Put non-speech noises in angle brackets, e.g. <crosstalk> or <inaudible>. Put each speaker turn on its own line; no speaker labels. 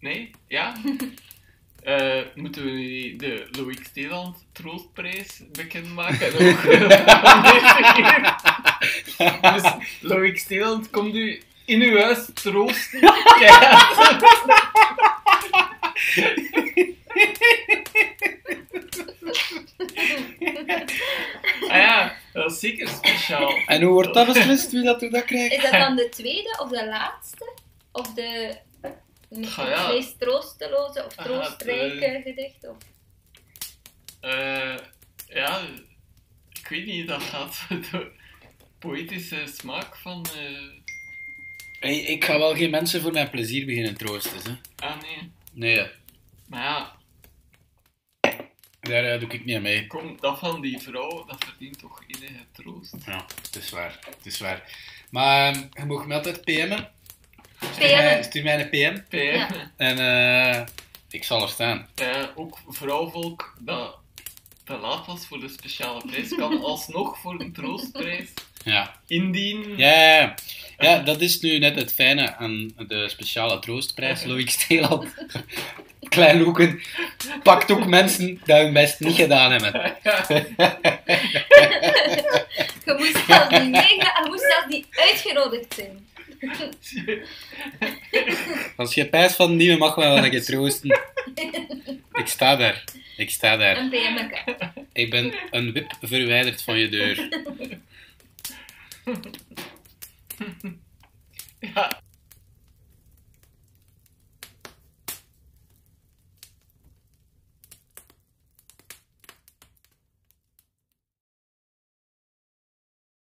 Nee? Ja? Eh, moeten we nu de Loïc Steeland troostprijs
<laughs>
bekendmaken? Dat is ook van deze keer. Dus Loïc Steeland komt u in uw huis troosten. Ja. Ah ja, dat is zeker speciaal.
<laughs> En hoe wordt dat beslist wie dat er dat krijgt?
Is dat
<laughs>
dan de tweede of de laatste? Of de me-
Ah, ja.
meest troosteloze of
Ah,
troostrijke gedicht? Of...
Eh, ja, ik weet niet, dat gaat de poëtische smaak van... eh,
Hey, ik ga wel geen mensen voor mijn plezier beginnen troosten. Hè?
Ah nee,
Nee,
maar ja,
daar eh, doe ik niet aan mee.
kom, dat van die vrouw, dat verdient toch enige troost.
Ja, het is waar. Het is waar. Maar ehm, je mag me altijd PM'en. Stuur mij-
PM'en.
Stuur mij een PM.
PM,
Ja.
En eh, ik zal er staan.
eh, ook vrouwvolk dat te laat was voor de speciale prijs, kan alsnog voor een troostprijs
Ja.
indienen.
<laughs> Ja, ja, ja. ja, dat is nu net het fijne aan de speciale troostprijs. Loïc Steeland. <laughs> Klein Hoeken pakt ook mensen die hun best niet gedaan hebben.
Je moest zelfs niet meegaan, je moest zelfs niet uitgenodigd zijn.
Als je pijs van nieuwe mag wel wel een keer troosten. Ik sta daar. Ik sta daar.
Een PMK.
Ik ben een wip verwijderd van je deur.